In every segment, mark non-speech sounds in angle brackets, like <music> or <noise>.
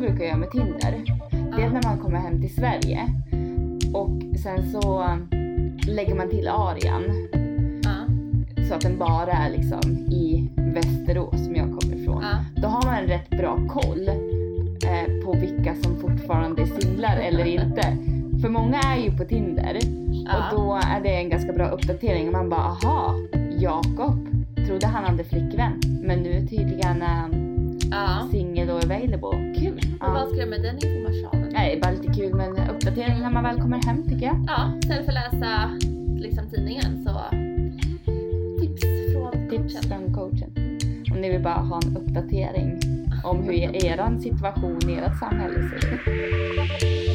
brukar göra med Tinder. Det är när man kommer hem till Sverige och sen så lägger man till arian Ja, så att den bara är liksom i Västerås som jag kommer ifrån. ja. Då har man en rätt bra koll eh, på vilka som fortfarande är singlar eller inte. För många är ju på Tinder Ja. och då är det en ganska bra uppdatering. Man bara aha, Jakob trodde han hade flickvän men nu tydligen är han ja. singel och available. Kul! Ja. Och vad ska jag med den informationen? Nej, det är bara lite kul med en uppdatering när man väl kommer hem tycker jag. Ja, istället för att läsa liksom, tidningen så tips från Tips coachen. från coachen. Om ni vill bara ha en uppdatering om hur er situation i ert samhälle ser ut.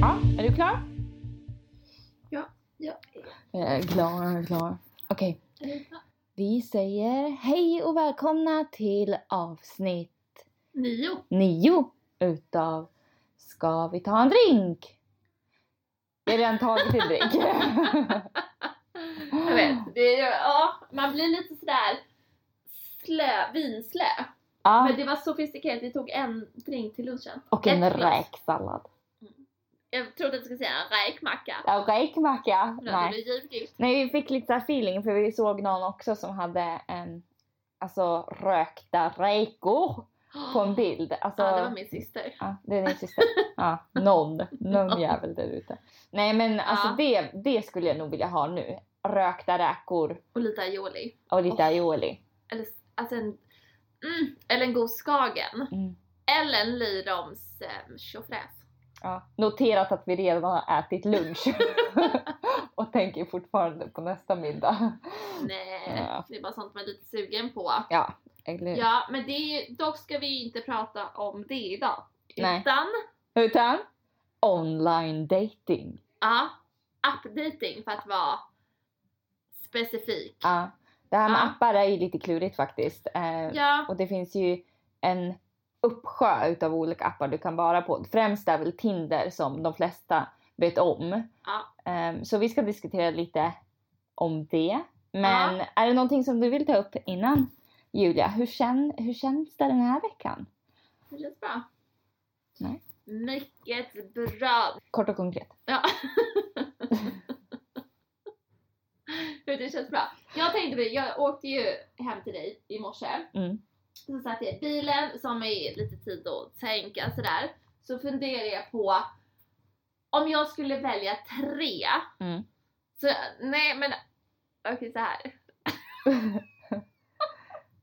Ja, är du klar? Ja, ja. Jag är klar, jag är klar. Eh, Okej. Vi säger hej och välkomna till avsnitt Nio. nio utav Ska vi ta en drink? Jag har redan tagit en drink. Jag Mm. vet, det är, ju- ja, man blir lite sådär slö, vinslö. <laughs> ja, Men det var sofistikerat, vi tog en drink till lunchen. och en Ett glas. räksallad. Jag trodde att du skulle säga en räkmacka. Ja, Räkmacka? Men Det Nej. blir givetvis. Nej, vi fick lite så här feeling för vi såg någon också som hade en, alltså rökta räkor på en bild. Alltså, Ah. Ja, det var min syster. Ja, det är din syster. Ja, någon. Någon jävel där ute. Nej men alltså Ja. det, det skulle jag nog vilja ha nu. Rökta räkor Och lite aioli. och lite Oh. aioli. Eller, alltså en, mm, eller en god skagen. Mm. Eller en Lyroms eh, tjofräs. Ja. Noterat att vi redan har ätit lunch. <laughs> och tänker fortfarande på nästa middag. Nej, Ja. det är bara sånt man är lite sugen på. Ja, eller hur? Ja, men det är, ju- dock ska vi ju inte prata om det idag. Nej. Utan, Utan online dating. ja, updating för att vara specifik. Ja. Det här med Ja. appar är ju lite klurigt faktiskt. Eh, Ja, Och det finns ju en uppsjö utav olika appar du kan vara på. Främst är väl Tinder som de flesta vet om. Ja. Ehm, så vi ska diskutera lite om det. Men är det någonting som du vill ta upp innan Julia? Hur, kän, hur känns det den här veckan? det känns bra. Nej. Mycket bra. Kort och konkret. Ja. Jo, det känns bra. Jag tänkte på det, jag åkte ju hem till dig i morse. Mm. Så satt jag i bilen som är lite tid att tänka sådär. Så funderar jag på om jag skulle välja tre. Mm. <laughs> Så nej men okej så här.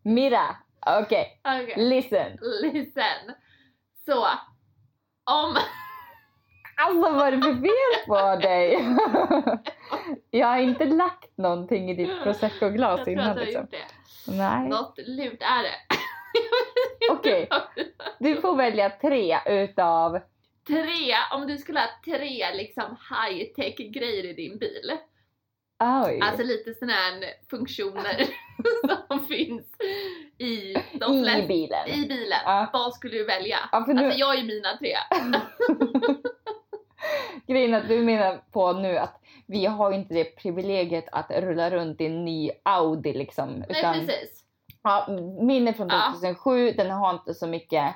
Mira, okej, Okej. listen. Listen. Så om Alltså vad är det för fel på dig? <laughs> Jag har inte lagt någonting i ditt jag prosecco-glas tror att innan <laughs> jag har liksom. gjort det. Nej. Något lurt är det. Okej. Du får välja tre utav... <laughs> Tre, om du skulle ha tre liksom high tech grejer i din bil. Oj! Alltså lite sådana här funktioner <laughs> som finns i de I flesta bilen. i bilen, Ja. vad skulle du välja? Ja, för nu, Alltså jag är mina tre. Grejen att du menar på nu att vi har ju inte det privilegiet att rulla runt i en ny Audi liksom. Utan, Nej precis. ja, min är från Ja. 2007, den har inte så mycket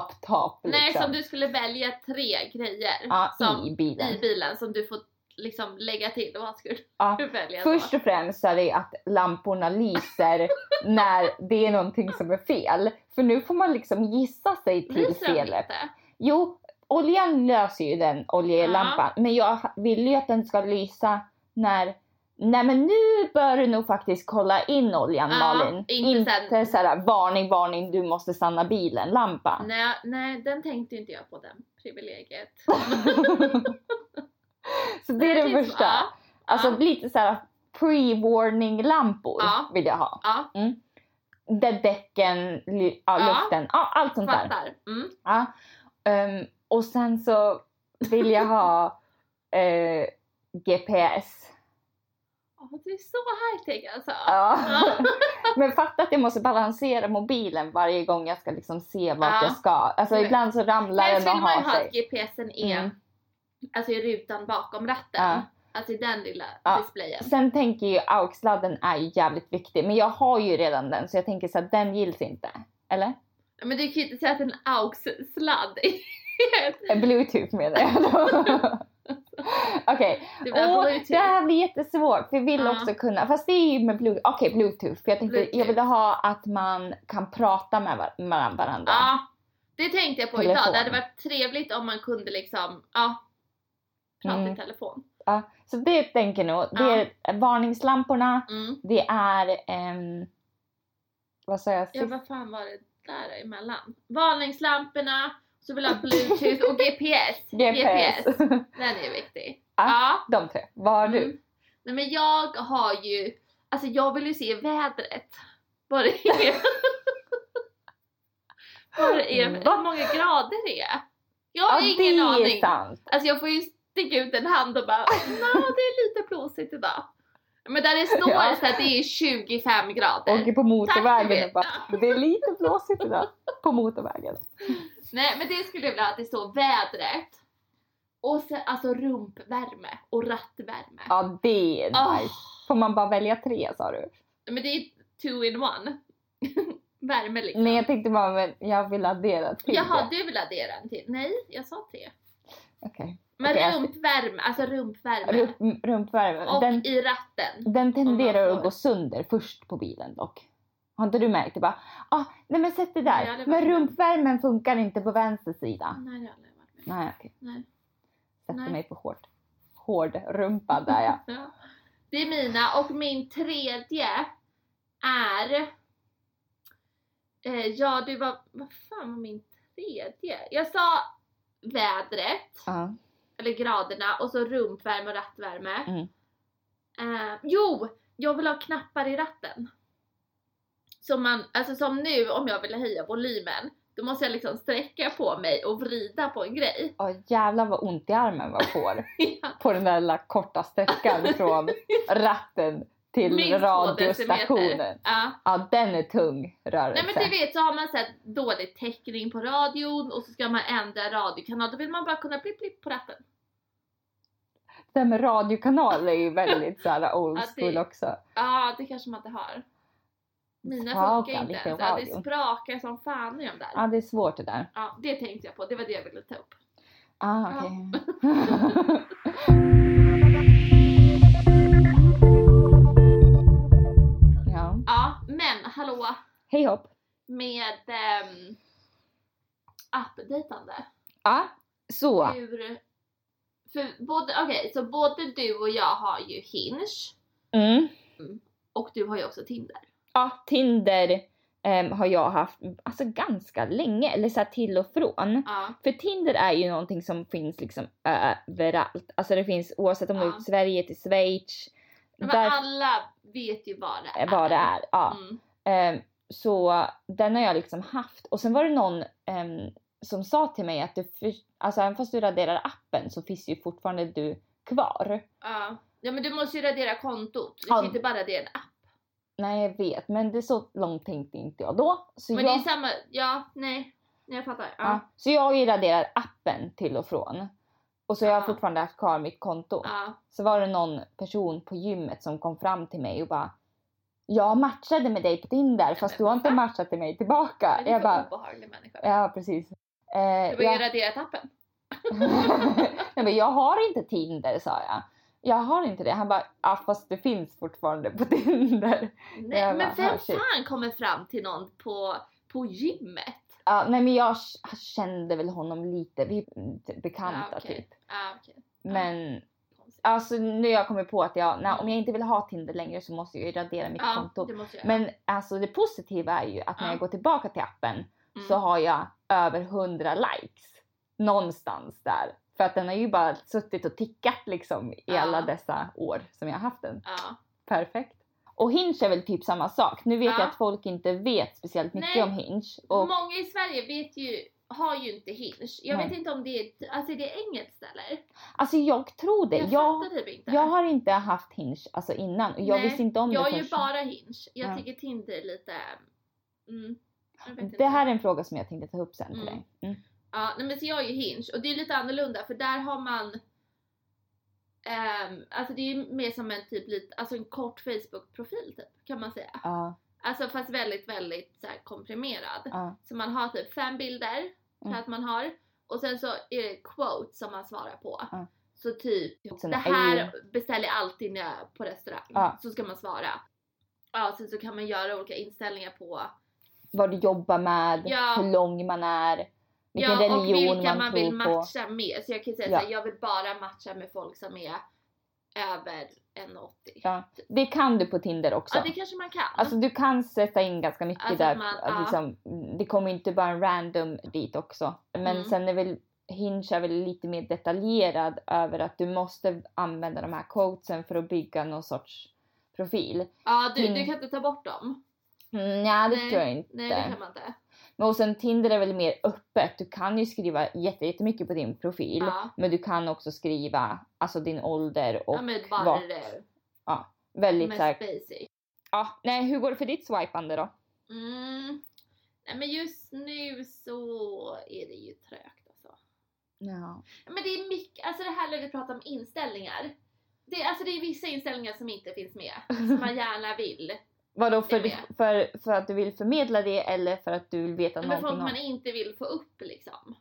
up top liksom. Nej, som du skulle välja tre grejer ja, som, i bilen. i bilen som du får liksom lägga till. Vad skulle Ja. du välja Först då? och främst är det att lamporna <laughs> lyser när det är någonting som är fel. För nu får man liksom gissa sig till Lyser de felet. inte? Jo, oljan löser ju den oljelampan. Men jag vill ju att den ska lysa när... Nej men nu bör du nog faktiskt kolla in oljan Ja, Malin. inte sen- inte så här varning, varning, du måste stanna bilen lampa. Nej, nej, den tänkte inte jag på den privilegiet. <laughs> så <laughs> det är det finns- första. Ja, Alltså ja. lite så här pre-warning lampor Ja. vill jag ha. Mm. ja Där däcken, ly- ja, Ja. luften, ja, allt sånt där. fattar. Mm. Ja. Ehm, och sen så vill jag ha eh, GPS. Åh, du är så high tech alltså. Ja. Ja. <laughs> Men fatta att jag måste balansera mobilen varje gång jag ska liksom se vart Ja. jag ska. Alltså Men- ibland så ramlar Helst den vill och man ju har ha att sig. GPSen är Mm. E. alltså i rutan bakom ratten. Ja. Alltså i den lilla Ja. displayen. Sen tänker ju AUX-sladden är ju jävligt viktig. Men jag har ju redan den så jag tänker så att den gills inte. Eller? Men du kan ju inte säga att en AUX-sladd är- Eh, Bluetooth menar jag då. Okej. <laughs> det typ- blir Åh, Bluetooth. det här blir jättesvårt. För jag vill Ja. också kunna. Fast det är ju med bluetooth. Okej, bluetooth. För jag tänkte jag Bluetooth. ville ha att man kan prata med, var- med varandra. Ja, det tänkte jag på idag. Telefon. Det hade varit trevligt om man kunde liksom, ja, prata Mm. i telefon. Ja, Så det tänker jag nog. Det är varningslamporna. Mm. Det är... ehm, vad sa jag sist? Ja, vad fan var det där emellan? Varningslamporna, så vill jag ha bluetooth <laughs> och GPS. GPS. Den är viktig. Ja. Ja. <laughs> De tre. Vad har du? Mm. Nej men jag har ju, alltså jag vill ju se vädret. Vad det är. <laughs> Vad det är, Va? hur många grader det är. Jag Ja, har det ingen aning. är sant. Alltså jag får ju sticka ut en hand och bara, nå det är lite blåsigt idag. Men där det <laughs> står Ja. så att det är 25 grader. Åker på motorvägen vet. och bara, det är lite blåsigt idag på motorvägen. Nej men det skulle jag vilja att det står vädret. Och sen alltså rumpvärme och rattvärme. Ja, det är Åh. nice. Får man bara välja tre sa du? Men det är two in one. <laughs> Värme liksom. Nej, jag tänkte bara, men jag vill addera till Jaha, det. du vill addera en till? Nej, jag sa tre. Okej. Men Okej, jag- rumpvärme, alltså rumpvärme. Rump, rumpvärmen. och Den, i ratten. den tenderar Om man att får. gå sönder först på bilen dock. Har inte du märkt det? Bara, ah, nej men sätt det Nej, jag har där. aldrig Men varit med. rumpvärmen funkar inte på vänster sida. Nej, det har jag aldrig varit med om. Nej, okej. Nej. Nej. Sätter mig på hårt. Hård rumpa där <laughs> ja. Ja. Det är mina och min tredje är... Eh, ja, du var... Vad fan var min tredje? Jag sa vädret, Ja. eller graderna, och så rumpvärme och rattvärme. Mm. Eh, jo! Jag vill ha knappar i ratten. Som, man, alltså som nu, om jag vill höja volymen, då måste jag liksom sträcka på mig och vrida på en grej. Ja, jävlar vad ont i armen man får. Ja. på den där lilla korta <laughs> sträckan från ratten <laughs> till Minst två decimeter. radiostationen. Ja. Ja, den är tung Nej rörelse. men du vet så har man sett dålig täckning på radion och så ska man ändra radiokanal, då vill man bara kunna blipp blipp på ratten. Det här med radiokanal är ju väldigt så här old Ja, det- school också. Ja, det kanske man inte har. Mina Sprakar funkar inte lite ens. i Ja, det radion. sprakar som fan i dem där. Ja, det är svårt det där. Ja, det tänkte jag på. Det var det jag ville ta upp. Ah, Ja. okej. <laughs> ja. Ja, men hallå Hej hopp. med ehm, appdejtande. Ja, så. Hur... För både, okej, så både du och jag har ju Hinge Mm. och du har ju också Tinder. Ja, Tinder ehm, har jag haft alltså, ganska länge, eller så här till och från. Ja, För Tinder är ju någonting som finns liksom överallt. Alltså det finns oavsett om du är Ja. i Sverige till Schweiz. men där Eh, alla vet ju vad det är. vad det är. Ja. Mm. Ehm, så den har jag liksom haft. Och sen var det någon ehm, som sa till mig att du, för, alltså även fast du raderar appen så finns ju fortfarande du kvar. Ja. ja men du måste ju radera kontot, du Ja. kan ju inte bara radera en app. Nej jag vet men det är så långt tänkte inte jag då. Så, Men det är jag, samma, ja nej, nej jag fattar. ja, Ja. så jag har ju raderat appen till och från. Och så har jag Ja. fortfarande haft kvar mitt konto. Ja. så var det någon person på gymmet som kom fram till mig och bara Jag matchade med dig på Tinder fast du har <laughs> inte matchat till mig tillbaka. Men du är Jag för bara, obehaglig människa. ja precis. Eh, Du har ju jag, raderat appen. jag, bara, jag har inte Tinder sa jag. Jag har inte det. Han bara, ja fast det finns fortfarande på <laughs> Tinder. Nej Jag men bara, vem ah, shit. fan kommer fram till någon på, på gymmet? Ja, nej men jag k- kände väl honom lite, vi är bekanta Ja, okej. typ. Ja okej, Men konstigt. alltså, nu har jag kommit på att jag, nej, om jag inte vill ha Tinder längre så måste jag ju radera mitt Ja konto. det måste jag göra. Men alltså det positiva är ju att när Ja. jag går tillbaka till appen Mm. så har jag över 100 likes någonstans där. För att den har ju bara suttit och tickat liksom i Ja. alla dessa år som jag har haft den. Ja. Perfekt. Och Hinge är väl typ samma sak. Nu vet Ja. jag att folk inte vet speciellt mycket Nej. om Hinge. Och Många i Sverige vet ju har ju inte hinge. Jag Nej. vet inte om det är, alltså är det engelskt eller? Alltså jag tror det. Jag, Jag, fattar jag, typ inte. har inte haft hinge alltså innan och jag Nej, visste inte om jag det är ju först. bara hinge. Jag Ja. tycker Tinder är lite... Mm, jag vet inte. Det här är en fråga som jag tänkte ta upp sen till Mm. dig. Mm. Ja, nej men så jag är ju Hinge och det är lite annorlunda för där har man ehm, Alltså det är ju mer som en typ lite, alltså en kort Facebook-profil typ kan man säga. Ja, Alltså fast väldigt, väldigt så här komprimerad. ja, Så man har typ fem bilder tror Mm. jag att man har och sen så är det quotes som man svarar på. Ja. Så typ, Sen det är här ju- beställer jag alltid när jag är på restaurang. Ja. Så ska man svara. Ja, sen så kan man göra olika inställningar på vad du jobbar med, Ja. hur lång man är, vilken ja, och religion vilka man, man, vill tror på. matcha med. Så jag kan säga Ja. såhär, jag vill bara matcha med folk som är över 1,80. Ja, Ja. Det kan du på Tinder också. det kanske man kan. Alltså du kan sätta in ganska mycket Alltså att där. man- att ja. liksom, Det kommer inte bara en random dit också. Men Mm. sen är väl Hinge är väl lite mer detaljerad över att du måste använda de här quotesen för att bygga någon sorts profil. ja, du, du Mm. kan inte ta bort dem. Mm, nej, det Nej, tror jag inte. Nej, det kan man inte. Men och sen Tinder är väl mer öppet. Du kan ju skriva jätte- jättemycket på din profil. Ja. Men du kan också skriva alltså din ålder och ja, men bara vart. det väldigt mest såhär, basic. ja, nej hur går det för ditt swipande då? Mm. Nej, men just nu så är det ju trögt alltså. Ja. Men det är mycket, alltså det här när vi pratar om inställningar. Det, alltså det är vissa inställningar som inte finns med, som man <laughs> gärna vill. Vadå för, Det med. för, för att du vill förmedla det eller för att du vill veta Men folk någonting om... man inte vill få upp liksom.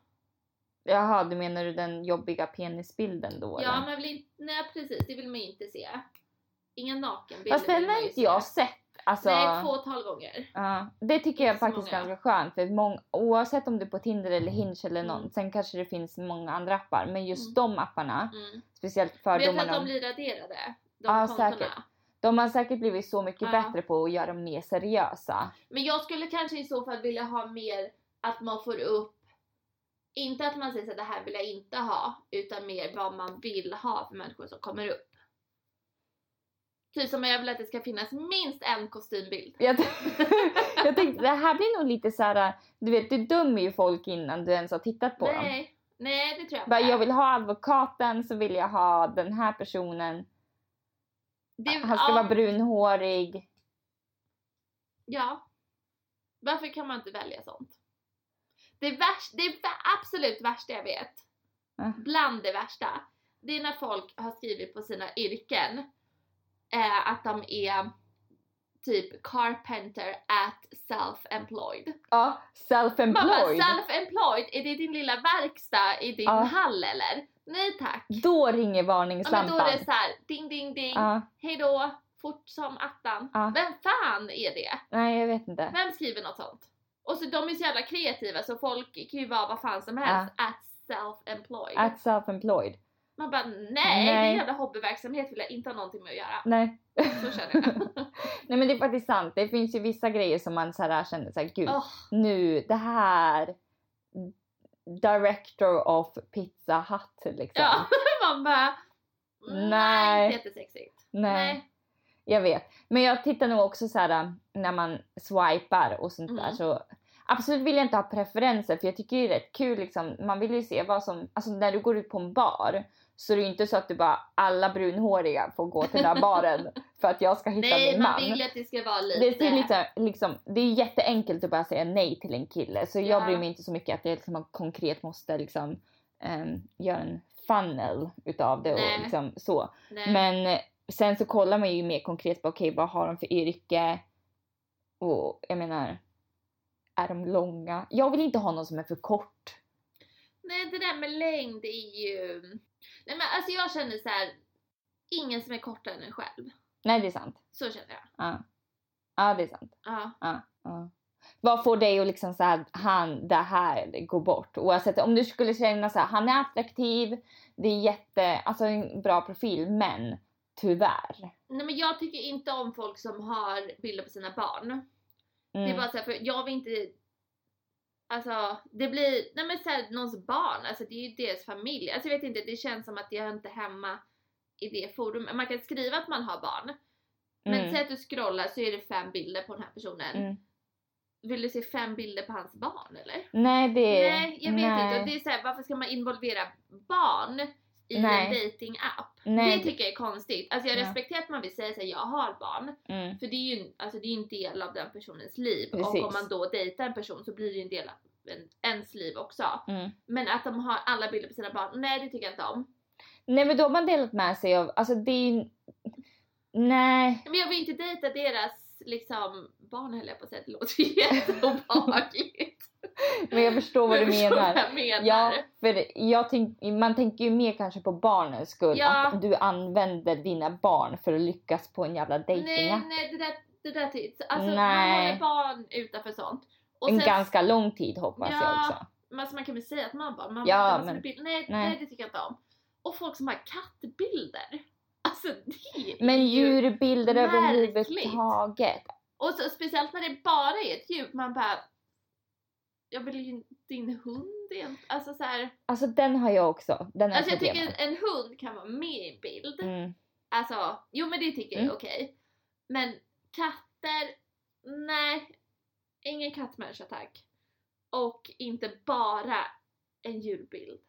Jaha, du menar du den jobbiga penisbilden då Ja, eller? man vill inte, nej precis, det vill man ju inte se. Ingen nakenbild. Fast den har inte jag sett. Alltså, Nej, ett fåtal gånger. ja, det tycker jag Inte så faktiskt är många. ganska skönt för mång, oavsett om du är på Tinder eller Hinge eller någon, Mm. sen kanske det finns många andra appar men just Mm. de apparna, Mm. speciellt Men jag tror att fördomarna, de, de blir raderade. De Ja, kontona. säkert. de har säkert blivit så mycket Ja. bättre på att göra dem mer seriösa. Men jag skulle kanske i så fall vilja ha mer att man får upp inte att man säger att det här vill jag inte ha utan mer vad man vill ha för människor som kommer upp. Typ som jag vill att det ska finnas minst en kostymbild. Jag, <laughs> jag tänkte det här blir nog lite så här. du vet du dömer ju folk innan du ens har tittat på dem. Nej, nej det tror jag Bara, inte. jag vill ha advokaten så vill jag ha den här personen. Det- Han ska ja, vara brunhårig. Ja. Varför kan man inte välja sånt? Det, värst, det vä- absolut värsta jag vet, Ja. bland det värsta, det är när folk har skrivit på sina yrken eh, att de är typ carpenter at self-employed. Ja, Man bara self-employed. self-employed, är det din lilla verkstad i din Ja. hall eller? Nej tack! Då ringer Ja, men då varningslampan. är det så här, ding ding ding, Ja, hejdå, fort som attan. Ja. Vem fan är det? nej jag vet inte. Vem skriver något sånt? Och så de är så jävla kreativa så folk kan ju vara vad fan som helst. At self-employed. Att self-employed. Man bara nej, det är Nej. en jävla hobbyverksamhet vill jag inte ha någonting med att göra. Nej. Så känner jag. <laughs> nej men det är faktiskt sant. Det finns ju vissa grejer som man så här känner så här, gud Åh, nu det här. Director of Pizza Hut liksom. ja, man bara nej, Nej. inte jättesexigt. nej. Jag vet. Men jag tittar nog också så här um, när man swipar och sånt Mm. där så absolut vill jag inte ha preferenser för jag tycker det är rätt kul liksom. Man vill ju se vad som, alltså när du går ut på en bar så är det ju inte så att du bara alla brunhåriga får gå till den här <laughs> baren för att jag ska hitta Nej, min man man. vill ju att det ska vara lite. Det är, liksom, liksom, det är jätteenkelt att bara säga nej till en kille så jag Ja. bryr mig inte så mycket att jag liksom konkret måste liksom ehm, göra en funnel utav det Nej. och liksom så. nej. Men eh, sen så kollar man ju mer konkret på okej vad har de för yrke? Och jag menar, är de långa? Jag vill inte ha någon som är för kort. nej, det där med längd är ju. Nej men alltså jag känner så här. Ingen som är kortare än en själv. Nej det är sant. Så känner jag. Ja, ja det är sant. Ja. Ja. Vad får dig att liksom såhär, han, det här, gå bort? Oavsett om du skulle känna såhär, han är attraktiv, det är jätte, alltså en bra profil, men tyvärr. Nej men jag tycker inte om folk som har bilder på sina barn. Det är Mm. bara såhär, för jag vill inte... Alltså det blir, nej men såhär någons barn, alltså det är ju deras familj. Alltså jag vet inte, det känns som att jag är inte hemma i det forumet. Man kan skriva att man har barn, men Mm. säg att du scrollar så är det fem bilder på den här personen. Mm. Vill du se fem bilder på hans barn eller? Nej det... Nej, jag vet inte. Och det är så här, varför ska man involvera barn i Nej. en dating app? Nej, Det tycker jag är konstigt. Alltså jag Ja. respekterar att man vill säga såhär, jag har barn. mm, För det är ju en- alltså det är ju en del av den personens liv. Precis. Och om man då dejtar en person så blir det ju en del av en, ens liv också. mm. Men att de har alla bilder på sina barn, nej det tycker jag inte om. Nej men då har man delat med sig av, alltså det är ju- Nej. Men jag vill inte dejta deras liksom, barn höll jag på att säga, det låter ju <laughs> jätteobehagligt. Men jag förstår vad du Jag förstår menar. jag menar. Ja, för jag tänk, man tänker ju mer kanske på barnens skull. Ja. Att du använder dina barn för att lyckas på en jävla nej, dejtingapp. nej det där, det där tids. Alltså man Nej. håller barn utanför sånt. Och En sen, ganska lång tid hoppas Ja. jag också. alltså, man kan väl säga att man bara, man Ja, bara, men- men, bild, nej, nej. nej det tycker jag inte om. Och folk som har kattbilder. Alltså det är Men ju- djurbilder Märkligt. överhuvudtaget. Och så, speciellt när det bara är ett djur, man bara jag vill ju inte- din hund är inte- alltså så här, Alltså den har jag också. Den är alltså jag problemet. tycker en hund kan vara med i en bild. mm. Alltså, jo men det tycker jag är Mm. okej. Men katter, nej. Ingen kattmänniska tack. Och inte bara en djurbild.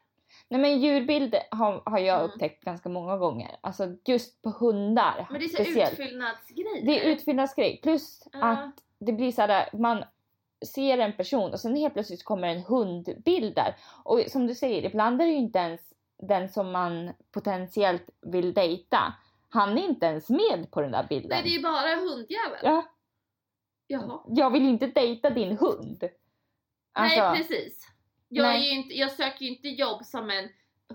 Nej men djurbild har, har jag Mm. upptäckt ganska många gånger. Alltså just på hundar Men det är så speciellt. utfyllnadsgrejer. Det är utfyllnadsgrej. Plus Ja. att det blir så här, man ser en person och sen helt plötsligt kommer en hundbild där. Och som du säger, ibland är det ju inte ens den som man potentiellt vill dejta. Han är inte ens med på den där bilden. Nej det är ju bara hundjävel. Ja. Jaha. Jag vill inte dejta din hund. Alltså, nej precis. Jag, Nej. Är ju inte, jag söker ju inte jobb som en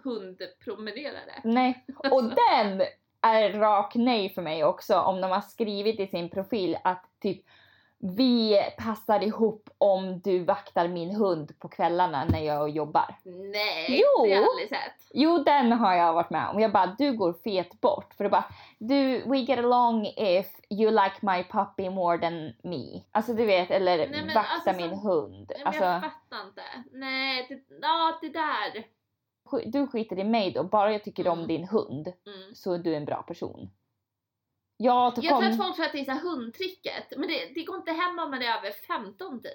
hundpromenerare. <laughs> nej. Och den är rak nej för mig också om de har skrivit i sin profil att typ vi passar ihop om du vaktar min hund på kvällarna när jag jobbar. Nej, Jo. det har jag aldrig sett. Jo, den har jag varit med om. Jag bara, du går fet bort. För du bara, du, we get along if you like my puppy more than me. Alltså du vet, eller Nej, men vakta alltså, min som- hund. Nej, men Alltså, jag fattar inte. Nej, det, ja det där. sk- du skiter i mig då, bara jag tycker om Mm. din hund Mm. så är du en bra person. Ja, då Jag kom... tror att folk tror att det är så här hundtricket, men det, det går inte hem om man är över 15 typ.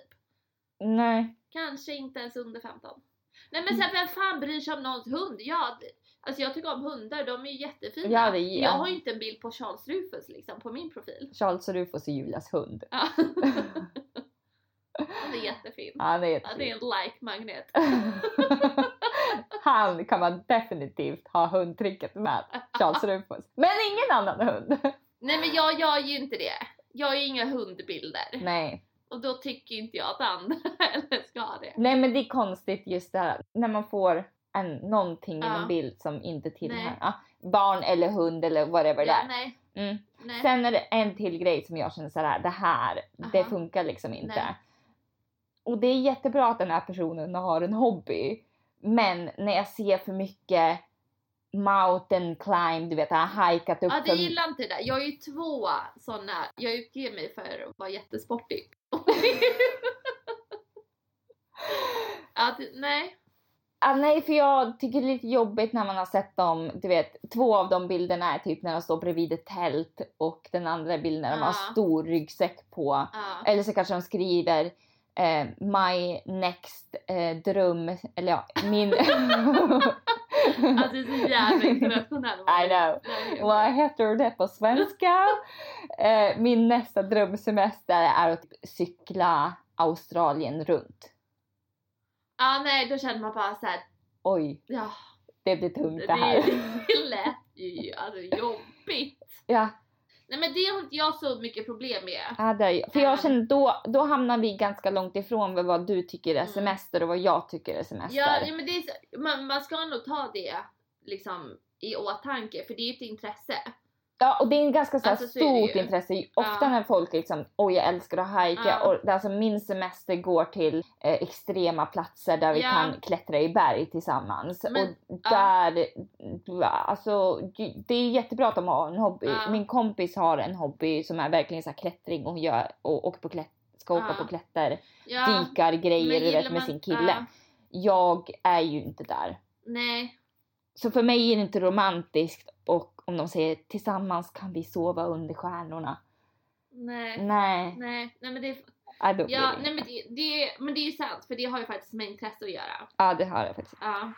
Nej. Kanske inte ens under 15. Nej men Mm. sen vem fan bryr sig om någons hund? Ja, det- alltså jag tycker om hundar, de är ju jättefina. Ja, det är- Jag har ju inte en bild på Charles Rufus liksom på min profil. Charles och Rufus är Julias <laughs> hund. <laughs> Ja. Han är jättefin. Han är Han är en like-magnet. <laughs> Han kan man definitivt ha hundtricket med. Charles Rufus. Men ingen annan hund. Nej men jag gör ju inte det. Jag har ju inga hundbilder. Nej. Och då tycker inte jag att andra <laughs> heller ska ha det. Nej men det är konstigt just det här när man får en, någonting i Ja. en bild som inte tillhör Nej. ja, barn eller hund eller whatever det Ja, är. nej. Mm. nej. Sen är det en till grej som jag känner så här, det här, det Aha. funkar liksom inte. Nej. Och det är jättebra att den här personen har en hobby. Men när jag ser för mycket mountain climb, du vet han har hajkat upp Ja, det för- gillar inte det där. Jag är ju två sådana. Jag utger mig för att <laughs> vara jättesportig. ja, det, nej. Ah, nej, för jag tycker det är lite jobbigt när man har sett dem. Du vet, två av de bilderna är typ när de står bredvid ett tält och den andra bilden när de har Ja. stor ryggsäck på. <laughs> Ja. Eller så kanske de skriver eh, My next eh, dröm, eller ja, min... <laughs> Alltså det är så <laughs> jävla internationellt. I know. Vad heter det på svenska? <laughs> eh, min nästa drömsemester är att cykla Australien runt. Ja, nej, då känner man bara såhär, Oj, ja, det blir tungt det, det här. det <laughs> lät ju alltså, jobbigt. ja. Nej men det har inte jag så mycket problem med. Ja, det är ju- för jag Ja. känner då, då hamnar vi ganska långt ifrån vad- vad du tycker är Mm. semester och vad jag tycker är semester. Ja, ja men det är, så- man, man ska nog ta det liksom i åtanke för det är ju ett intresse. Ja, och det är en ganska så här Alltså, så är det stort ju. intresse. Ofta Ja. när folk liksom, oj jag älskar att hajka. Ja. Och det, är alltså, min semester går till eh, extrema platser där vi Ja. kan klättra i berg tillsammans. Men- och ja. där, ja, alltså ju- det är jättebra att de har en hobby. Ja. Min kompis har en hobby som är verkligen så här klättring och, hon gör, och åker på klätt, ska åka Ja. på klätter, Ja, dykargrejer du gillar vet, med man- sin kille. ja, jag är ju inte där. nej. Så för mig är det inte romantiskt och om de säger tillsammans kan vi sova under stjärnorna. Nej, Nej. nej, nej men det är, Nej, då blir Ja, det nej, inget. men, det, det, men det är ju sant för det har ju faktiskt med intresse att göra. Ja, det har jag faktiskt. Ja.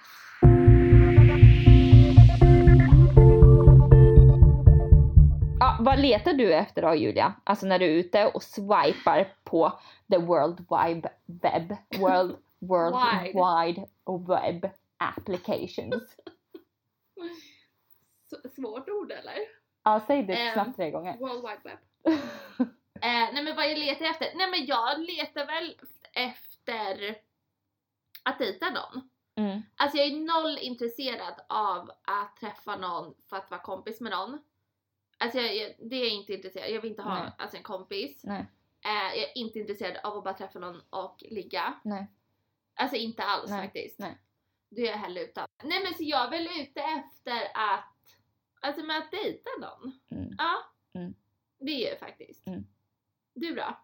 Ja, vad letar du efter då Julia? Alltså när du är ute och swipar på the world wide web, <laughs> world, world Wide. wide web applications. S- Svårt ord eller? Ja, säg det Ehm. snabbt tre gånger. <laughs> World Wide Web. eh, nej men vad jag letar efter? Nej men jag letar väl efter att dejta någon. Mm. Alltså jag är noll intresserad av att träffa någon för att vara kompis med någon. Alltså jag, jag, det är jag inte intresserad Jag vill inte ha Nej. alltså, en kompis. Nej. Eh, jag är inte intresserad av att bara träffa någon och ligga. Nej. Alltså inte alls Nej, faktiskt. nej. Det är jag hellre utan. Nej men så jag är väl ute efter att, alltså med att dejta någon. Mm. Ja. Mm. Det är jag faktiskt. Mm. Du då?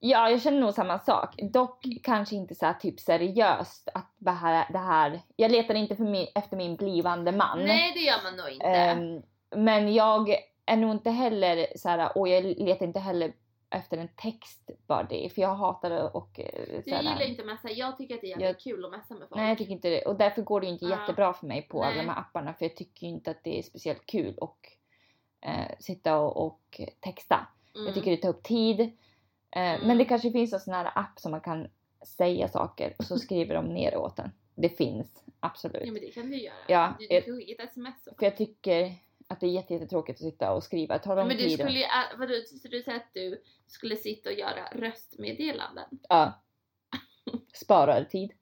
Ja, jag känner nog samma sak. Dock Mm. kanske inte så här typ seriöst att det här, det här jag letar inte för min, efter min blivande man. Nej det gör man nog inte. Ehm, men jag är nog inte heller så här, och jag letar inte heller efter en text bara det, för jag hatar det och eh, så jag här, gillar inte messa. Jag tycker att det är jävligt kul att messa med folk. Nej jag tycker inte det och därför går det ju inte Ja. jättebra för mig på alla Nej. de här apparna för jag tycker ju inte att det är speciellt kul och eh, sitta och, och texta. Mm. Jag tycker det tar upp tid. Eh, Mm. Men det kanske finns en sån här app som man kan säga saker och <laughs> så skriver de ner åt en. Det finns absolut. Ja men det kan du göra. Ja, du, du jag- kan skicka ett sms också. För jag tycker att det är jätte- jättetråkigt att sitta och skriva. Ta lång Men du tid. skulle ju, äh, vadå, så du säger att du skulle sitta och göra röstmeddelanden? Ja. Sparar tid.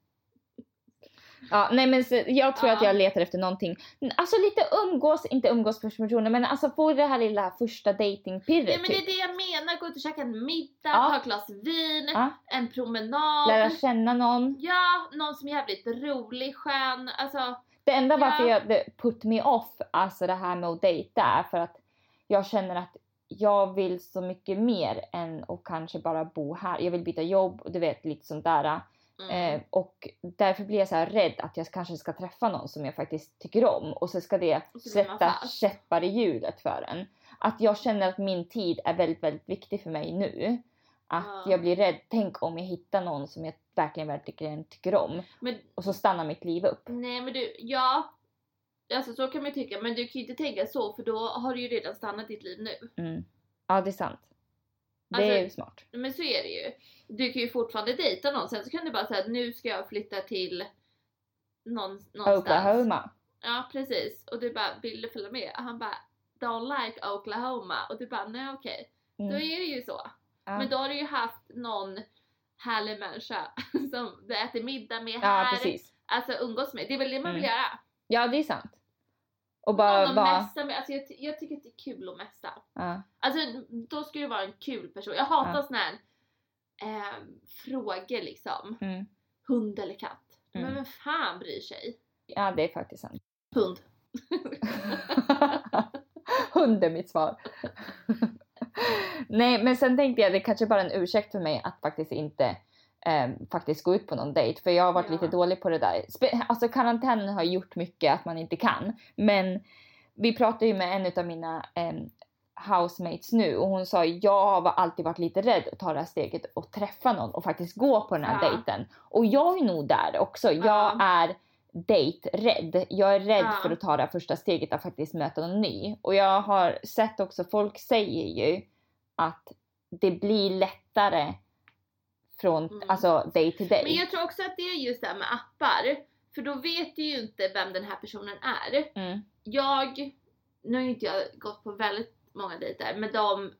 Ja, nej men så, jag tror Ja. att jag letar efter någonting. Alltså lite umgås, inte umgås först med personen men alltså få det här lilla första dejtingpirret Ja men det är typ. det jag menar, gå ut och käka en middag, Ja. ta ett glas vin, Ja. en promenad. Lära känna någon. Ja, någon som är jävligt rolig, skön, alltså Det enda varför Ja. jag det put me off, alltså det här med att dejta är för att jag känner att jag vill så mycket mer än att kanske bara bo här. Jag vill byta jobb och du vet lite sånt där. mm. Eh, och därför blir jag så här rädd att jag kanske ska träffa någon som jag faktiskt tycker om och så ska det Och så blir man sätta fast. käppar i hjulet för en. Att jag känner att min tid är väldigt, väldigt viktig för mig nu. Att Ja. jag blir rädd, tänk om jag hittar någon som jag verkligen, verkligen tycker om Men och så stannar mitt liv upp. nej men du, ja. Alltså så kan man ju tycka, men du kan ju inte tänka så för då har du ju redan stannat ditt liv nu. Mm. Ja, det är sant. Det Alltså- är ju smart. Men så är det ju. Du kan ju fortfarande dejta någon, sen så kan du bara säga nu ska jag flytta till någon, någonstans. Oklahoma. Ja precis. Och du bara, vill du följa med? Och han bara, don't like Oklahoma. Och du bara, nej okej. Mm. Då är det ju så. Ja. Men då har du ju haft någon härlig människa <laughs> som du äter middag med ja, här. precis. Alltså umgås med. Det är väl det man vill göra. Ja, det är sant. Och Någon bara att vara... mässa med. Alltså jag, ty- jag tycker att det är kul att mässa. Ja. Alltså då ska du vara en kul person. Jag hatar Ja. såna här eh, frågor liksom. Mm. Hund eller katt? Men Mm. vem fan bryr sig? ja, det är faktiskt sant. Hund. <laughs> Hund är mitt svar. Nej men sen tänkte jag det kanske bara är en ursäkt för mig att faktiskt inte eh, faktiskt gå ut på någon dejt för jag har varit Ja. lite dålig på det där. Spe- alltså karantänen har gjort mycket att man inte kan men vi pratade ju med en av mina eh, housemates nu och hon sa jag har alltid varit lite rädd att ta det här steget och träffa någon och faktiskt gå på den här Ja. dejten och jag är nog där också. Jag Ja. är dejträdd. Jag är rädd Ja. för att ta det här första steget att faktiskt möta någon ny. Och jag har sett också, folk säger ju att det blir lättare från Mm. alltså day till day. Men jag tror också att det är just det här med appar. För då vet du ju inte vem den här personen är. Mm. Jag, nu har ju inte jag gått på väldigt många dejter men de,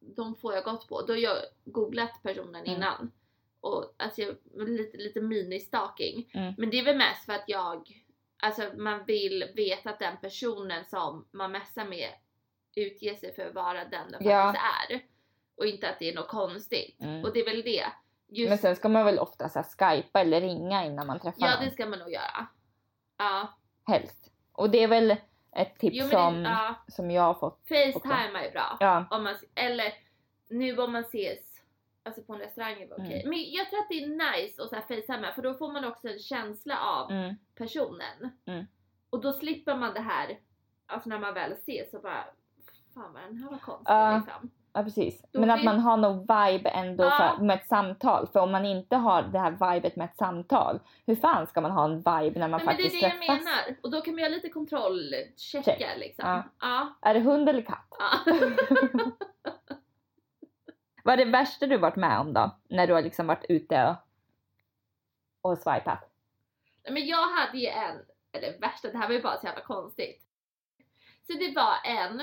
de få jag gått på, då har jag googlat personen Mm. innan. Och alltså jag, lite, lite mini-stalking. Mm. Men det är väl mest för att jag, alltså man vill veta att den personen som man messar med utger sig för att vara den den Ja. faktiskt är. Och inte att det är något konstigt. Mm. Och det är väl det. Just Men sen ska man väl ofta så här, skypa eller ringa innan man träffar Ja någon. det ska man nog göra. Ja. Helst. Och det är väl ett tips Jo, men Typ som, det, ja. som jag har fått. Facetime är bra. Ja. Om man, eller nu om man ses alltså på en restaurang är väl okej. Mm. Men jag tror att det är nice att så här facetima för då får man också en känsla av Mm. personen. Mm. Och då slipper man det här, alltså när man väl ses så bara Fan vad den här var konstig Ja. liksom. Ja. ja precis. Då Men att vill- man har någon vibe ändå Ja. för, med ett samtal. För om man inte har det här vibet med ett samtal, hur fan ska man ha en vibe när man Nej, men det är faktiskt det jag träffas? menar. Och då kan vi göra lite kontrollcheckar Check. liksom. Ja. Ja. Är det hund eller <laughs> katt? ja. Vad är det värsta du varit med om då? När du har liksom varit ute och, och swipat? Nej, Men jag hade ju en, eller värsta, det här var ju bara så jävla konstigt. Så det var en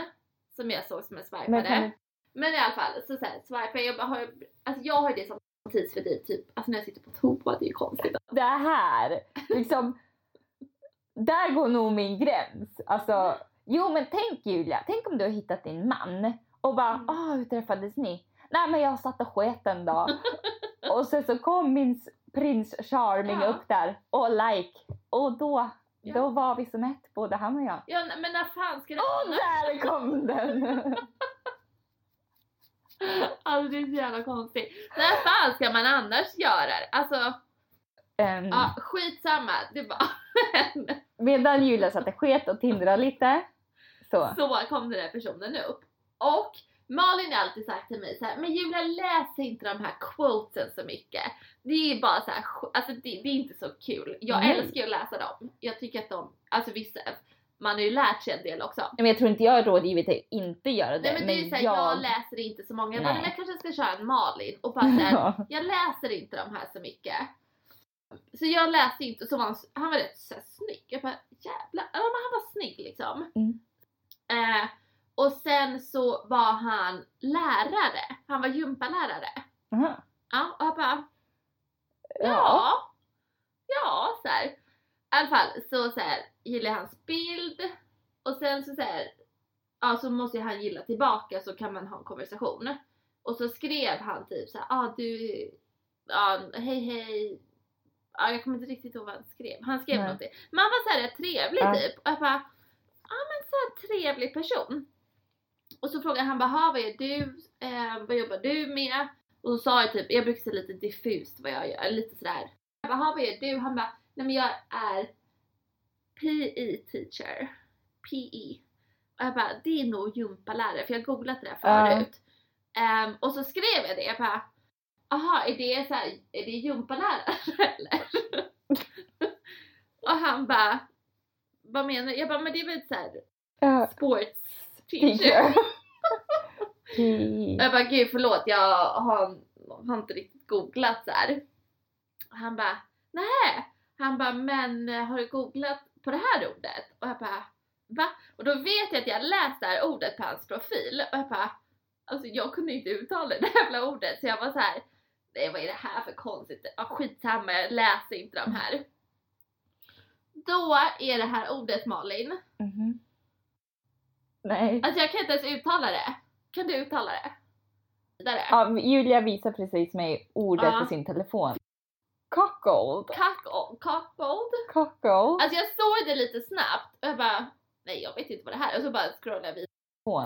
som jag såg som jag swipade. Men Men, kan du- i alla fall, så, så här, swipade jag, bara har, alltså jag har ju det som tidsfördriv typ, alltså när jag sitter på toa, det är ju konstigt. det här, liksom, där går nog min gräns. Alltså, jo men tänk Julia, tänk om du har hittat din man och bara, Mm. ah hur träffades ni? Nej men jag satt och sket en <laughs> dag. och sen så kom min s- prins charming Ja. upp där och like. Och då, Ja. då var vi som ett både han och jag. Ja, men när fan ska det Och där kom <laughs> den! Alltså det är så jävla konstigt. När fan ska man annars göra det? Alltså, Ehm, ja, skitsamma. Det var <laughs> Medan Julia satt och sket och tindrade lite. Så. så kom den där personen upp. Och Malin har alltid sagt till mig så här, men Julia läs inte de här quotesen så mycket. Det är bara så här, sk- alltså det, det är inte så kul. Jag Nej. älskar ju att läsa dem. Jag tycker att de, alltså vissa, man har ju lärt sig en del också. Nej, Men jag tror inte jag har rådgivit dig att inte göra det. Nej men det är ju såhär, jag... läser inte så många. Jag bara, Nej. men jag kanske ska köra en Malin och bara så här, Ja. jag läser inte de här så mycket. Så jag läste inte, så var han, han var rätt så här, snygg. Jag bara jävlar, ja, men han var snygg liksom. Mm. Eh, och sen så var han lärare, han var gympalärare. Aha. Ja, och jag bara ja, Ja. ja, så här. I alla fall så, så här, gillar jag hans bild och sen så, så här, ja så måste ju han gilla tillbaka så kan man ha en konversation. Och så skrev han typ så här, ah, du, ja hej hej. Ja, jag kommer inte riktigt ihåg vad han skrev. Han skrev Nej. någonting. Men han var så här rätt trevlig Ja. typ. Och jag bara, ja men så här trevlig person. Och så frågade han bara, "Ha, vad gör du? Eh, vad jobbar du med? Och så sa jag typ, jag brukar säga lite diffust vad jag gör, lite sådär. Jag bara, "Ha, vad gör du? Han bara, nej men jag är PE teacher. PE. Och jag bara, det är nog gympalärare för jag har googlat det där Ja. förut. Ehm, och så skrev jag det, jag bara, aha är det, så här, är det gympalärare <laughs> eller? och han bara, vad menar du? Jag bara, men det är väl såhär Ja. sports teacher. <laughs> Teacher. Tea. Och jag bara gud förlåt jag har, har inte riktigt googlat så här. Och han bara nej. Han bara men eh, har du googlat på det här ordet? Och jag bara va? Och då vet jag att jag läst det här ordet på hans profil och jag bara alltså jag kunde inte uttala det här jävla ordet så jag var så här nej vad är det här för konstigt? Ja skitsamma jag läser inte de här. Då är det här ordet Malin. Mhm. Nej. Alltså jag kan inte ens uttala det. Kan du uttala det? Vidare. Ja, Julia visar precis mig ordet Ja. på sin telefon. Cockold. Cuckold. Cuckold? Cockold. Alltså jag såg det lite snabbt och jag bara nej jag vet inte vad det här är och så bara scrollade jag vidare.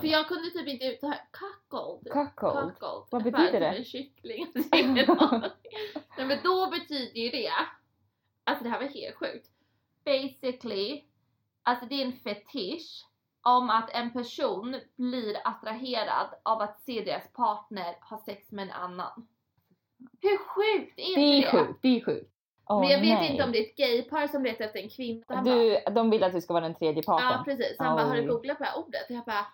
För jag kunde typ inte uttala cuckold. Cockold. Cuckold. Vad Jag betyder bara, det? typ En kyckling. Jag <laughs> har ingen aning. nej men då betyder ju det, alltså det här var helt sjukt. Basically, alltså det är en fetisch om att en person blir attraherad av att se deras partner ha sex med en annan. Hur sjukt är Det är sjukt, det är sjukt. Åh, men jag vet nej. inte om det är ett gaypar som letar efter en kvinna. Han bara, Du, de vill att du ska vara den tredje ja parten. precis. Han bara, har Oj. du googlat på det här ordet? Och jag bara,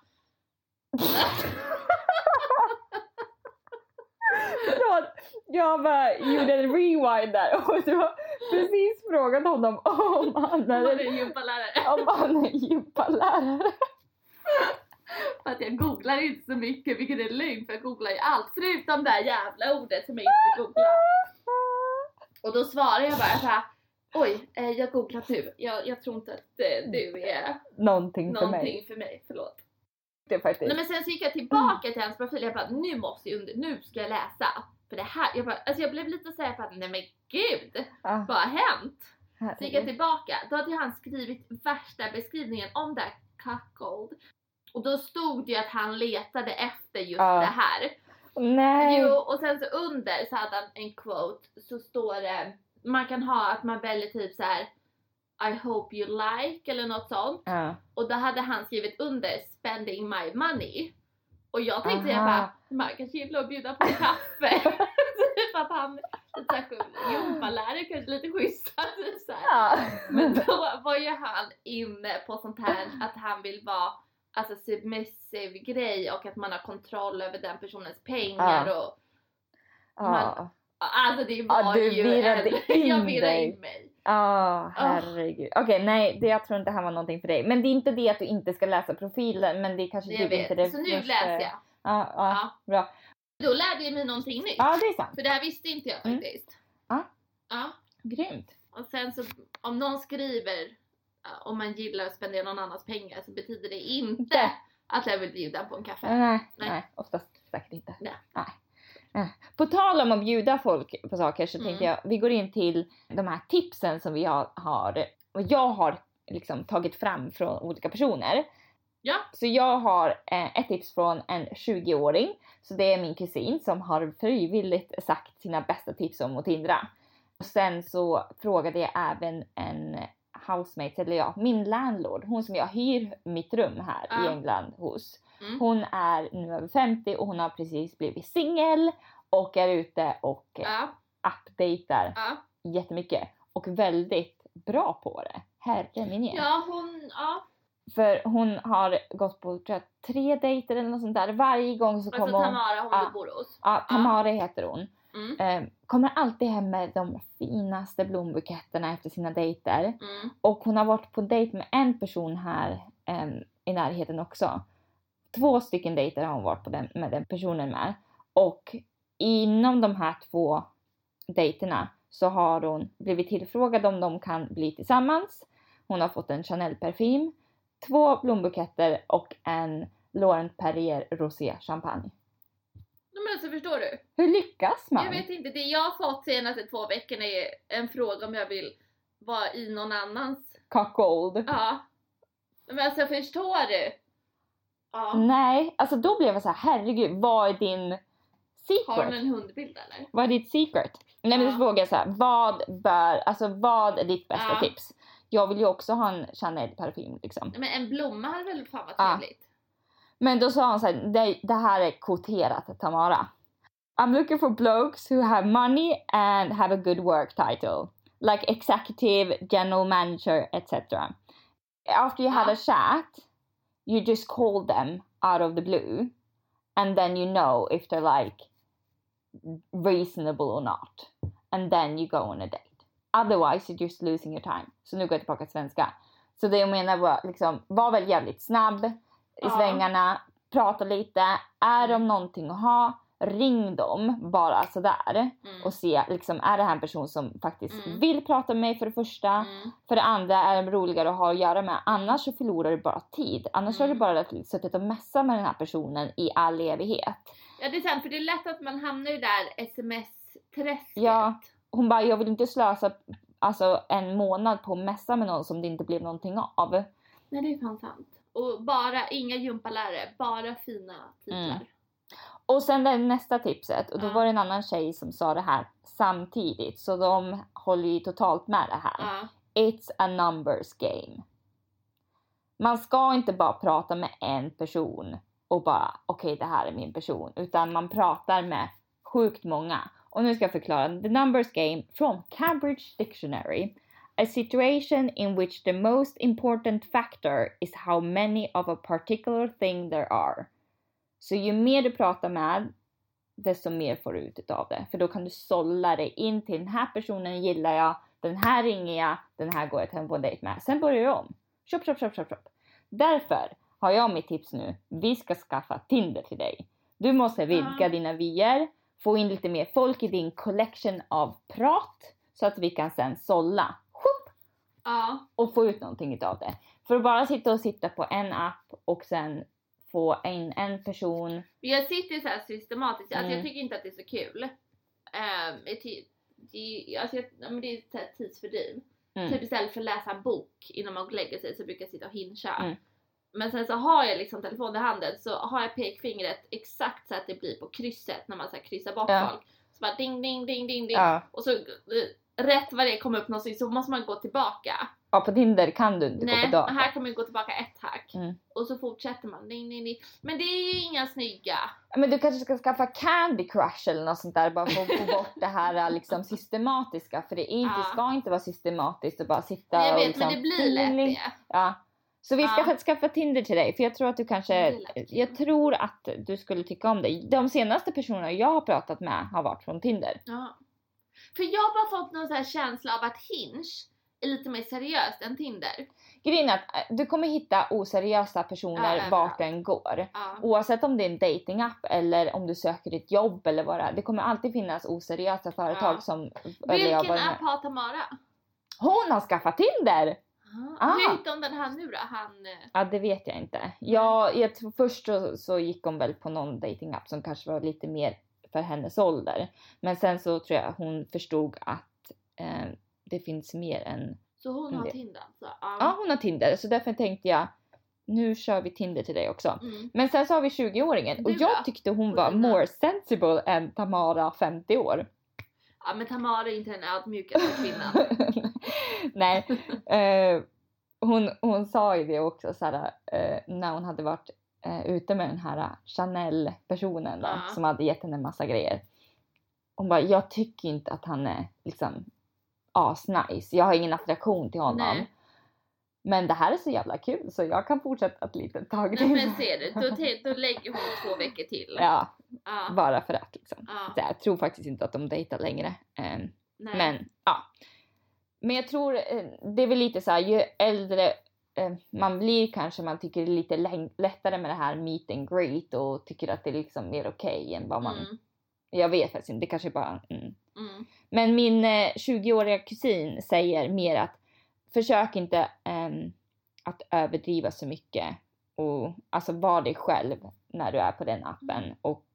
Förlåt, jag bara gjorde en rewind där och du har precis frågat honom om han han är, är gympalärare. om han är gympalärare. <laughs> För att jag googlar inte så mycket, vilket är lögn för jag googlar ju allt förutom det här jävla ordet som jag inte googlar. Och då svarar jag bara så här, oj, eh, jag googlat nu. Jag, jag tror inte att eh, du är Någonting Mm. för mig. någonting för mig, förlåt. Det är faktiskt. Nej men sen så gick jag tillbaka till hans profil jag bara nu måste jag, under- nu ska jag läsa. För det här, jag bara, alltså jag blev lite såhär på att nej men gud, Ah, vad har hänt? Så gick jag herregud. tillbaka, då hade han skrivit värsta beskrivningen om det här cuckold. Och då stod det ju att han letade efter just Ja. det här. Nej. Jo, och sen så under så hade han en quote, så står det, man kan ha att man väljer typ så här. I hope you like eller något sånt. Ja. Och då hade han skrivit under spending my money. Och jag tänkte jag Aha. bara, man kanske gillar att bjuda på <laughs> kaffe. <laughs> typ att han, lite såhär skön- gympalärare kanske lite schyssta typ så här. Ja. Men <laughs> <laughs> då var ju han inne på sånt här att han vill vara alltså submissive grej och att man har kontroll över den personens pengar och Ja. alltså det var Ja, du ju virrade <laughs> in jag virrade dig. in mig. Ah. Ja, Ah, herregud. Okej, nej, det, jag tror inte det här var någonting för dig. Men det är inte det att du inte ska läsa profilen, men det är kanske Jag typ inte vet. det Så nu första- läser jag. Ja, ja. Ja. bra. Då lärde jag mig någonting nytt. ja, det är sant. För det här visste inte jag Mm. faktiskt. Ja. Ja. Grymt. Och sen så om någon skriver ja, om man gillar att spendera någon annans pengar så betyder det inte att jag vill bjuda på en kaffe. Nej, Nej. nej, oftast säkert inte. Nej. Nej. Eh, På tal om att bjuda folk på saker så Mm. tänkte jag, vi går in till de här tipsen som vi har, har och jag har liksom tagit fram från olika personer. Ja. Så jag har eh, ett tips från en 20-åring, så det är min kusin som har frivilligt sagt sina bästa tips om att tindra. Och sen så frågade jag även en housemate, eller ja, min landlord, hon som jag hyr mitt rum här i Ja. England hos. Mm. Hon är nu över 50 och hon har precis blivit singel och är ute och eh, Ja, updatar ja. jättemycket och väldigt bra på det. Herre min ja. ja hon, ja. För hon har gått på tror jag, tre dejter eller något sånt där. Varje gång så Alltså kommer hon... Tamara hon ja. du bor hos. Ja, Tamara heter hon. Mm. Eh, kommer alltid hem med de finaste blombuketterna efter sina dejter. Mm. Och hon har varit på dejt med en person här em, i närheten också. Två stycken dejter har hon varit på den, med den personen med. Och inom de här två dejterna så har hon blivit tillfrågad om de kan bli tillsammans. Hon har fått en Chanel-parfym, två blombuketter och en Laurent Perrier Rosé Champagne. Nej, Men alltså förstår du? Hur lyckas man? Jag vet inte, det jag har fått senaste två veckorna är en fråga om jag vill vara i någon annans. Cuckold. Ja. Men alltså förstår du? Ja. Nej, alltså då blev jag så här, herregud, vad är din Har hon secret? en hundbild eller? Vad är ditt secret? Nej men Ja. då frågade jag så här, vad bör, alltså vad är ditt bästa Ja. tips? Jag vill ju också ha en Chanel-parfym liksom. Nej, Men en blomma hade väl fan varit Ja. trevligt? Men då sa han så här, det, det här är kvoterat Tamara. I'm looking for blokes who have money and have a good work title. Like executive, general manager, etc. After you have Ja. a chat, you just call them out of the blue. And then you know if they're like reasonable or not. And then you go on a date. Otherwise you're just losing your time. Så nu går jag tillbaka till svenska. Så det jag menar var liksom, var väl jävligt snabb i Ja. svängarna, prata lite. Är de någonting att ha, ring dem bara sådär. Mm. Och se, liksom, är det här en person som faktiskt Mm. vill prata med mig för det första. Mm. För det andra, är de roligare att ha att göra med? Annars så förlorar du bara tid. Annars har Mm. du bara suttit och messat med den här personen i all evighet. Ja det är sant, för det är lätt att man hamnar i det där sms-träsket. Ja. Hon bara, jag vill inte slösa alltså, en månad på att messa med någon som det inte blev någonting av. Nej det är fan sant. Och bara, inga gympalärare, bara fina titlar. Mm. Och sen det nästa tipset, och då Ja. var det en annan tjej som sa det här samtidigt, så de håller ju totalt med det här. Ja. It's a numbers game. Man ska inte bara prata med en person och bara okej det här är min person, utan man pratar med sjukt många. Och nu ska jag förklara. The numbers game from Cambridge Dictionary. A situation in which the most important factor is how many of a particular thing there are. Så ju mer du pratar med, desto mer får du ut av det. För då kan du sålla dig in till den här personen gillar jag, den här ringer jag, den här går jag till en på en dejt med. Sen börjar du om. Chop, chop, chop, chop, chop. Därför har jag mitt tips nu. Vi ska skaffa Tinder till dig. Du måste vidga Ja. dina vyer, få in lite mer folk i din collection av prat så att vi kan sen sålla. Chop, ja. och få ut någonting utav det. För att bara sitta och sitta på en app och sen få in en person. Men Jag sitter så här systematiskt, alltså Mm. jag tycker inte att det är så kul. Ehm, det är ty- det är, alltså jag, ja, men det är så här tidsfördriv. Mm. Typ istället för att läsa en bok innan man går och lägger sig så brukar jag sitta och hincha. Mm. Men sen så har jag liksom telefonen i handen så har jag pekfingret exakt så att det blir på krysset när man så här kryssar bort Ja. folk. Så bara ding ding ding ding ding. Ja. Och så eh, rätt vad det kom upp någonting så måste man gå tillbaka. Ja, på Tinder kan du inte gå Nej, på dagar. här kan man ju gå tillbaka ett hack. Mm. Och så fortsätter man. Nej, nej, nej. Men det är ju inga snygga. Ja, Men du kanske ska skaffa Candy Crush eller något sånt där bara för att få bort det <laughs> här liksom, systematiska. För det, är inte, Ja. ska inte vara systematiskt och bara sitta Jag och vet, liksom, men det blir lätt feeling. det. Ja. Så vi Ja. ska skaffa, skaffa Tinder till dig för jag tror att du Det kanske, blir lätt. jag tror att du skulle tycka om det. De senaste personerna jag har pratat med har varit från Tinder. Ja. För jag har bara fått någon sån här känsla av att Hinge är lite mer seriöst än Tinder. Grejen är att eh, du kommer hitta oseriösa personer Ja, ja, vart den går. Ja. Oavsett om det är en datingapp eller om du söker ett jobb eller vad det är. Det kommer alltid finnas oseriösa företag Ja. som... eller jag Vilken var med. app har Tamara? Hon har skaffat Tinder! Ah. Ah. Hur gick det om den här nu då? Han... eh, Ja, det vet jag inte. Mm. Jag, jag, tror- först så, så gick hon väl på någon datingapp som kanske var lite mer för hennes ålder. Men sen så tror jag hon förstod att eh, det finns mer än... Så hon har Det- Tinder alltså? Ja, hon har Tinder. Så därför tänkte jag, nu kör vi Tinder till dig också. Mm. Men sen så har vi 20-åringen och Du då? jag tyckte hon var Vad är det? more sensible än Tamara 50 år. <laughs> ja men Tamara är inte den ödmjukaste kvinnan. <laughs> Nej. Eh, hon, hon sa ju det också så här, eh, när hon hade varit eh, ute med den här eh, Chanel-personen då, Ja. som hade gett henne massa grejer. Hon bara, jag tycker inte att han är liksom asnice. Jag har ingen attraktion till honom. Nej. Men det här är så jävla kul så jag kan fortsätta ett litet tag Nej men ser du, då, te- då lägger hon två veckor till. Ja, Ja. bara för att liksom. Ja. Så jag tror faktiskt inte att de dejtar längre. Ehm, Nej. Men ja. Men jag tror eh, det är väl lite så här ju äldre eh, man blir kanske man tycker det är lite läng- lättare med det här meet and greet och tycker att det är liksom mer okej än vad man... Mm. Jag vet faktiskt inte, det kanske bara... Mm. Mm. Men min eh, 20-åriga kusin säger mer att försök inte ehm, att överdriva så mycket och alltså var dig själv när du är på den appen och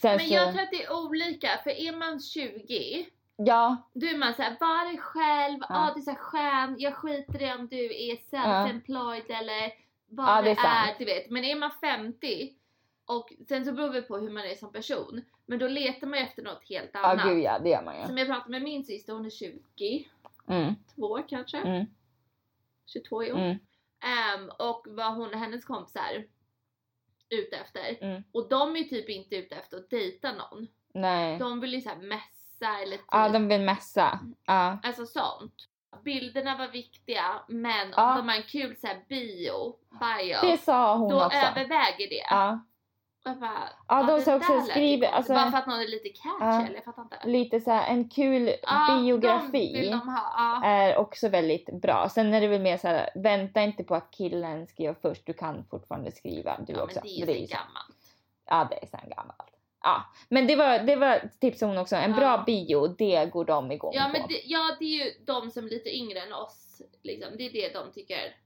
sen Mm. Men så... jag tror att det är olika, för är man 20 Ja, Då är man såhär, var dig själv, ja Ja. ah, du är så här skön, jag skiter i om du är self-employed eller vad Ja, det det är är, sant. du vet. Men är man 50 och sen så beror det på hur man är som person, men då letar man ju efter något helt ja annat. gud ja, det gör man ju. Som jag pratade med min syster, hon är 22 Mm, kanske, Mm. 22 i år. mm. Ehm, och vad hon och hennes kompisar ute efter. Mm. Och de är ju typ inte ute efter att dejta någon. Nej. De vill ju såhär mässa eller typ Ja, de vill mässa. Ja. Alltså sånt. Bilderna var viktiga men om Ja. de har en kul så här bio, bio Det sa hon då också. överväger det. Ja. Och jag bara, Ja, de det sa där också lät ju skriv, konstigt. alltså Bara för att någon är lite catchy Ja. eller jag fattar inte. lite så här, en kul Ja, de vill biografi de ha. Ja. är också väldigt bra. Sen är det väl mer så här, vänta inte på att killen skriver först, du kan fortfarande skriva du ja, också. men det är Det är ju ju så gammalt. Ja, det är sen gammalt. Ja, men det var, det var tips om hon också. En Ja. bra bio, det går de igång Ja, på. men det, ja, det är ju de som är lite yngre än oss. Liksom. Det är det de tycker.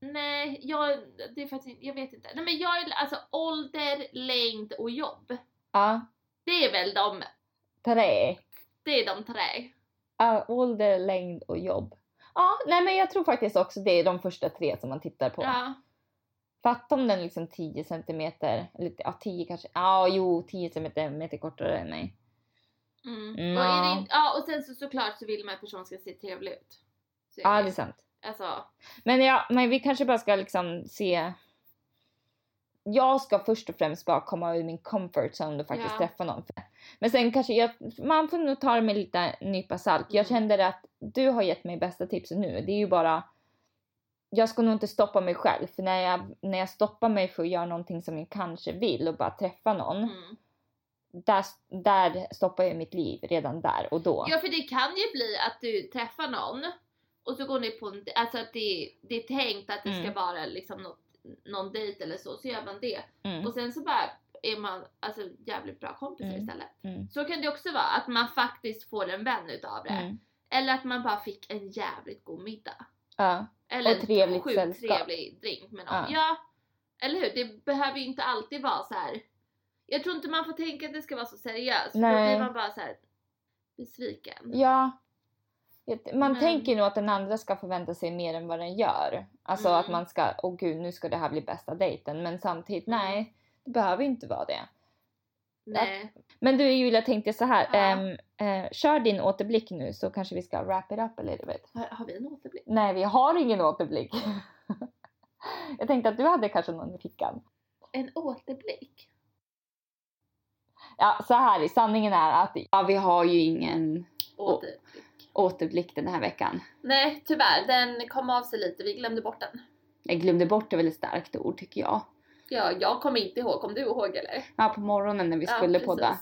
Nej, jag, det är faktiskt, inte- jag vet inte. Nej, men jag är alltså ålder, längd och jobb. Ja, Det är väl de, tre. det är de tre. Ja, ålder, längd och jobb. Ja, nej men jag tror faktiskt också det är de första tre som man tittar på. Ja. Fatta om den är liksom 10 centimeter, eller ja 10 kanske, ja jo 10 centimeter meter kortare än mig. Mm. Mm, Och, är ja. det, in- ja, och sen så såklart så vill man att personen ska se trevlig ut. Så är Ja det. det är sant. Alltså, Men ja, men vi kanske bara ska liksom se. Jag ska först och främst bara komma ur min comfort zone och faktiskt Ja. träffa någon. Men sen kanske jag, man får nog ta det med lite nypa salt. Jag Mm. kände att du har gett mig bästa tipsen nu. Det är ju bara, jag ska nog inte stoppa mig själv. För när jag, när jag stoppar mig för att göra någonting som jag kanske vill och bara träffa någon. mm. där, där stoppar jag mitt liv redan där och då. Ja för det kan ju bli att du träffar någon och så går ni på en, alltså att det, det är tänkt att det Mm. ska vara liksom något, någon dejt eller så, så gör man det. Mm. Och sen så bara är man alltså jävligt bra kompisar Mm. istället. Mm. Så kan det också vara, att man faktiskt får en vän utav det. Mm. Eller att man bara fick en jävligt god middag. Ja. Eller Och trevligt en sjukt sällskap. trevlig drink med någon. Ja. Ja. eller hur? Det behöver ju inte alltid vara så här. Jag tror inte man får tänka att det ska vara så seriöst. För då Nej. blir man bara så här besviken. ja. Man Men- tänker nog att den andra ska förvänta sig mer än vad den gör. Alltså Mm. att man ska, åh gud nu ska det här bli bästa dejten. Men samtidigt, Mm. nej. Det behöver inte vara det. Nej. Men du Julia tänkte jag så här. Ja. ehm, eh, kör din återblick nu så kanske vi ska wrap it up eller du vet. Har, har vi en återblick? Nej vi har ingen återblick. <laughs> jag tänkte att du hade kanske någon i fickan. En återblick? Ja så här sanningen är att Ja, vi har ju ingen Åter. återblick den här veckan. Nej, tyvärr. Den kom av sig lite. Vi glömde bort den. Jag glömde bort är väl ett starkt ord tycker jag. Ja, jag kommer inte ihåg. Kom du ihåg eller? Ja, på morgonen när vi Ja, skulle precis. podda.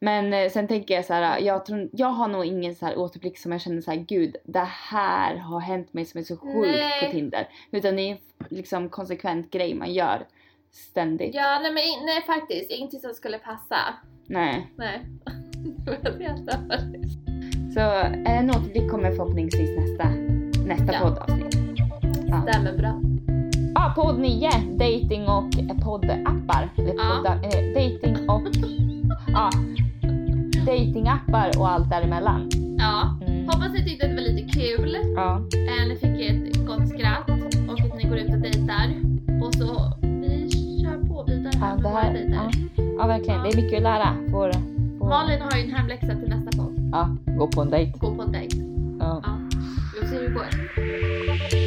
Men eh, sen tänker jag så här, jag, tror, jag har nog ingen så här återblick som jag känner så här, gud det här har hänt mig som är så sjukt Nej. på Tinder. Utan det är en f- liksom konsekvent grej man gör ständigt. Ja, nej, men, in- nej faktiskt. Ingenting som skulle passa. Nej. Nej. <laughs> Jag vet inte. Så eh, en återblick kommer förhoppningsvis nästa, nästa Ja. poddavsnitt. Ja. Stämmer bra. Ja, podd 9, dating och eh, poddappar. Eller Ja. podda, eh, dating och... ja. Datingappar och allt däremellan. Ja. Mm. Hoppas ni tyckte att det var lite kul. Ja. Eh, ni fick ett gott skratt och att ni går ut och dejtar. Och så vi kör på vidare här Ja, med det våra här, dejter. ja. ja, verkligen. Det är mycket att lära. Får, får, Malin har ju en hemläxa till nästa podd. Ja, gå på en dejt. Gå på en dejt. Ja. Ja. Vi får se hur det går.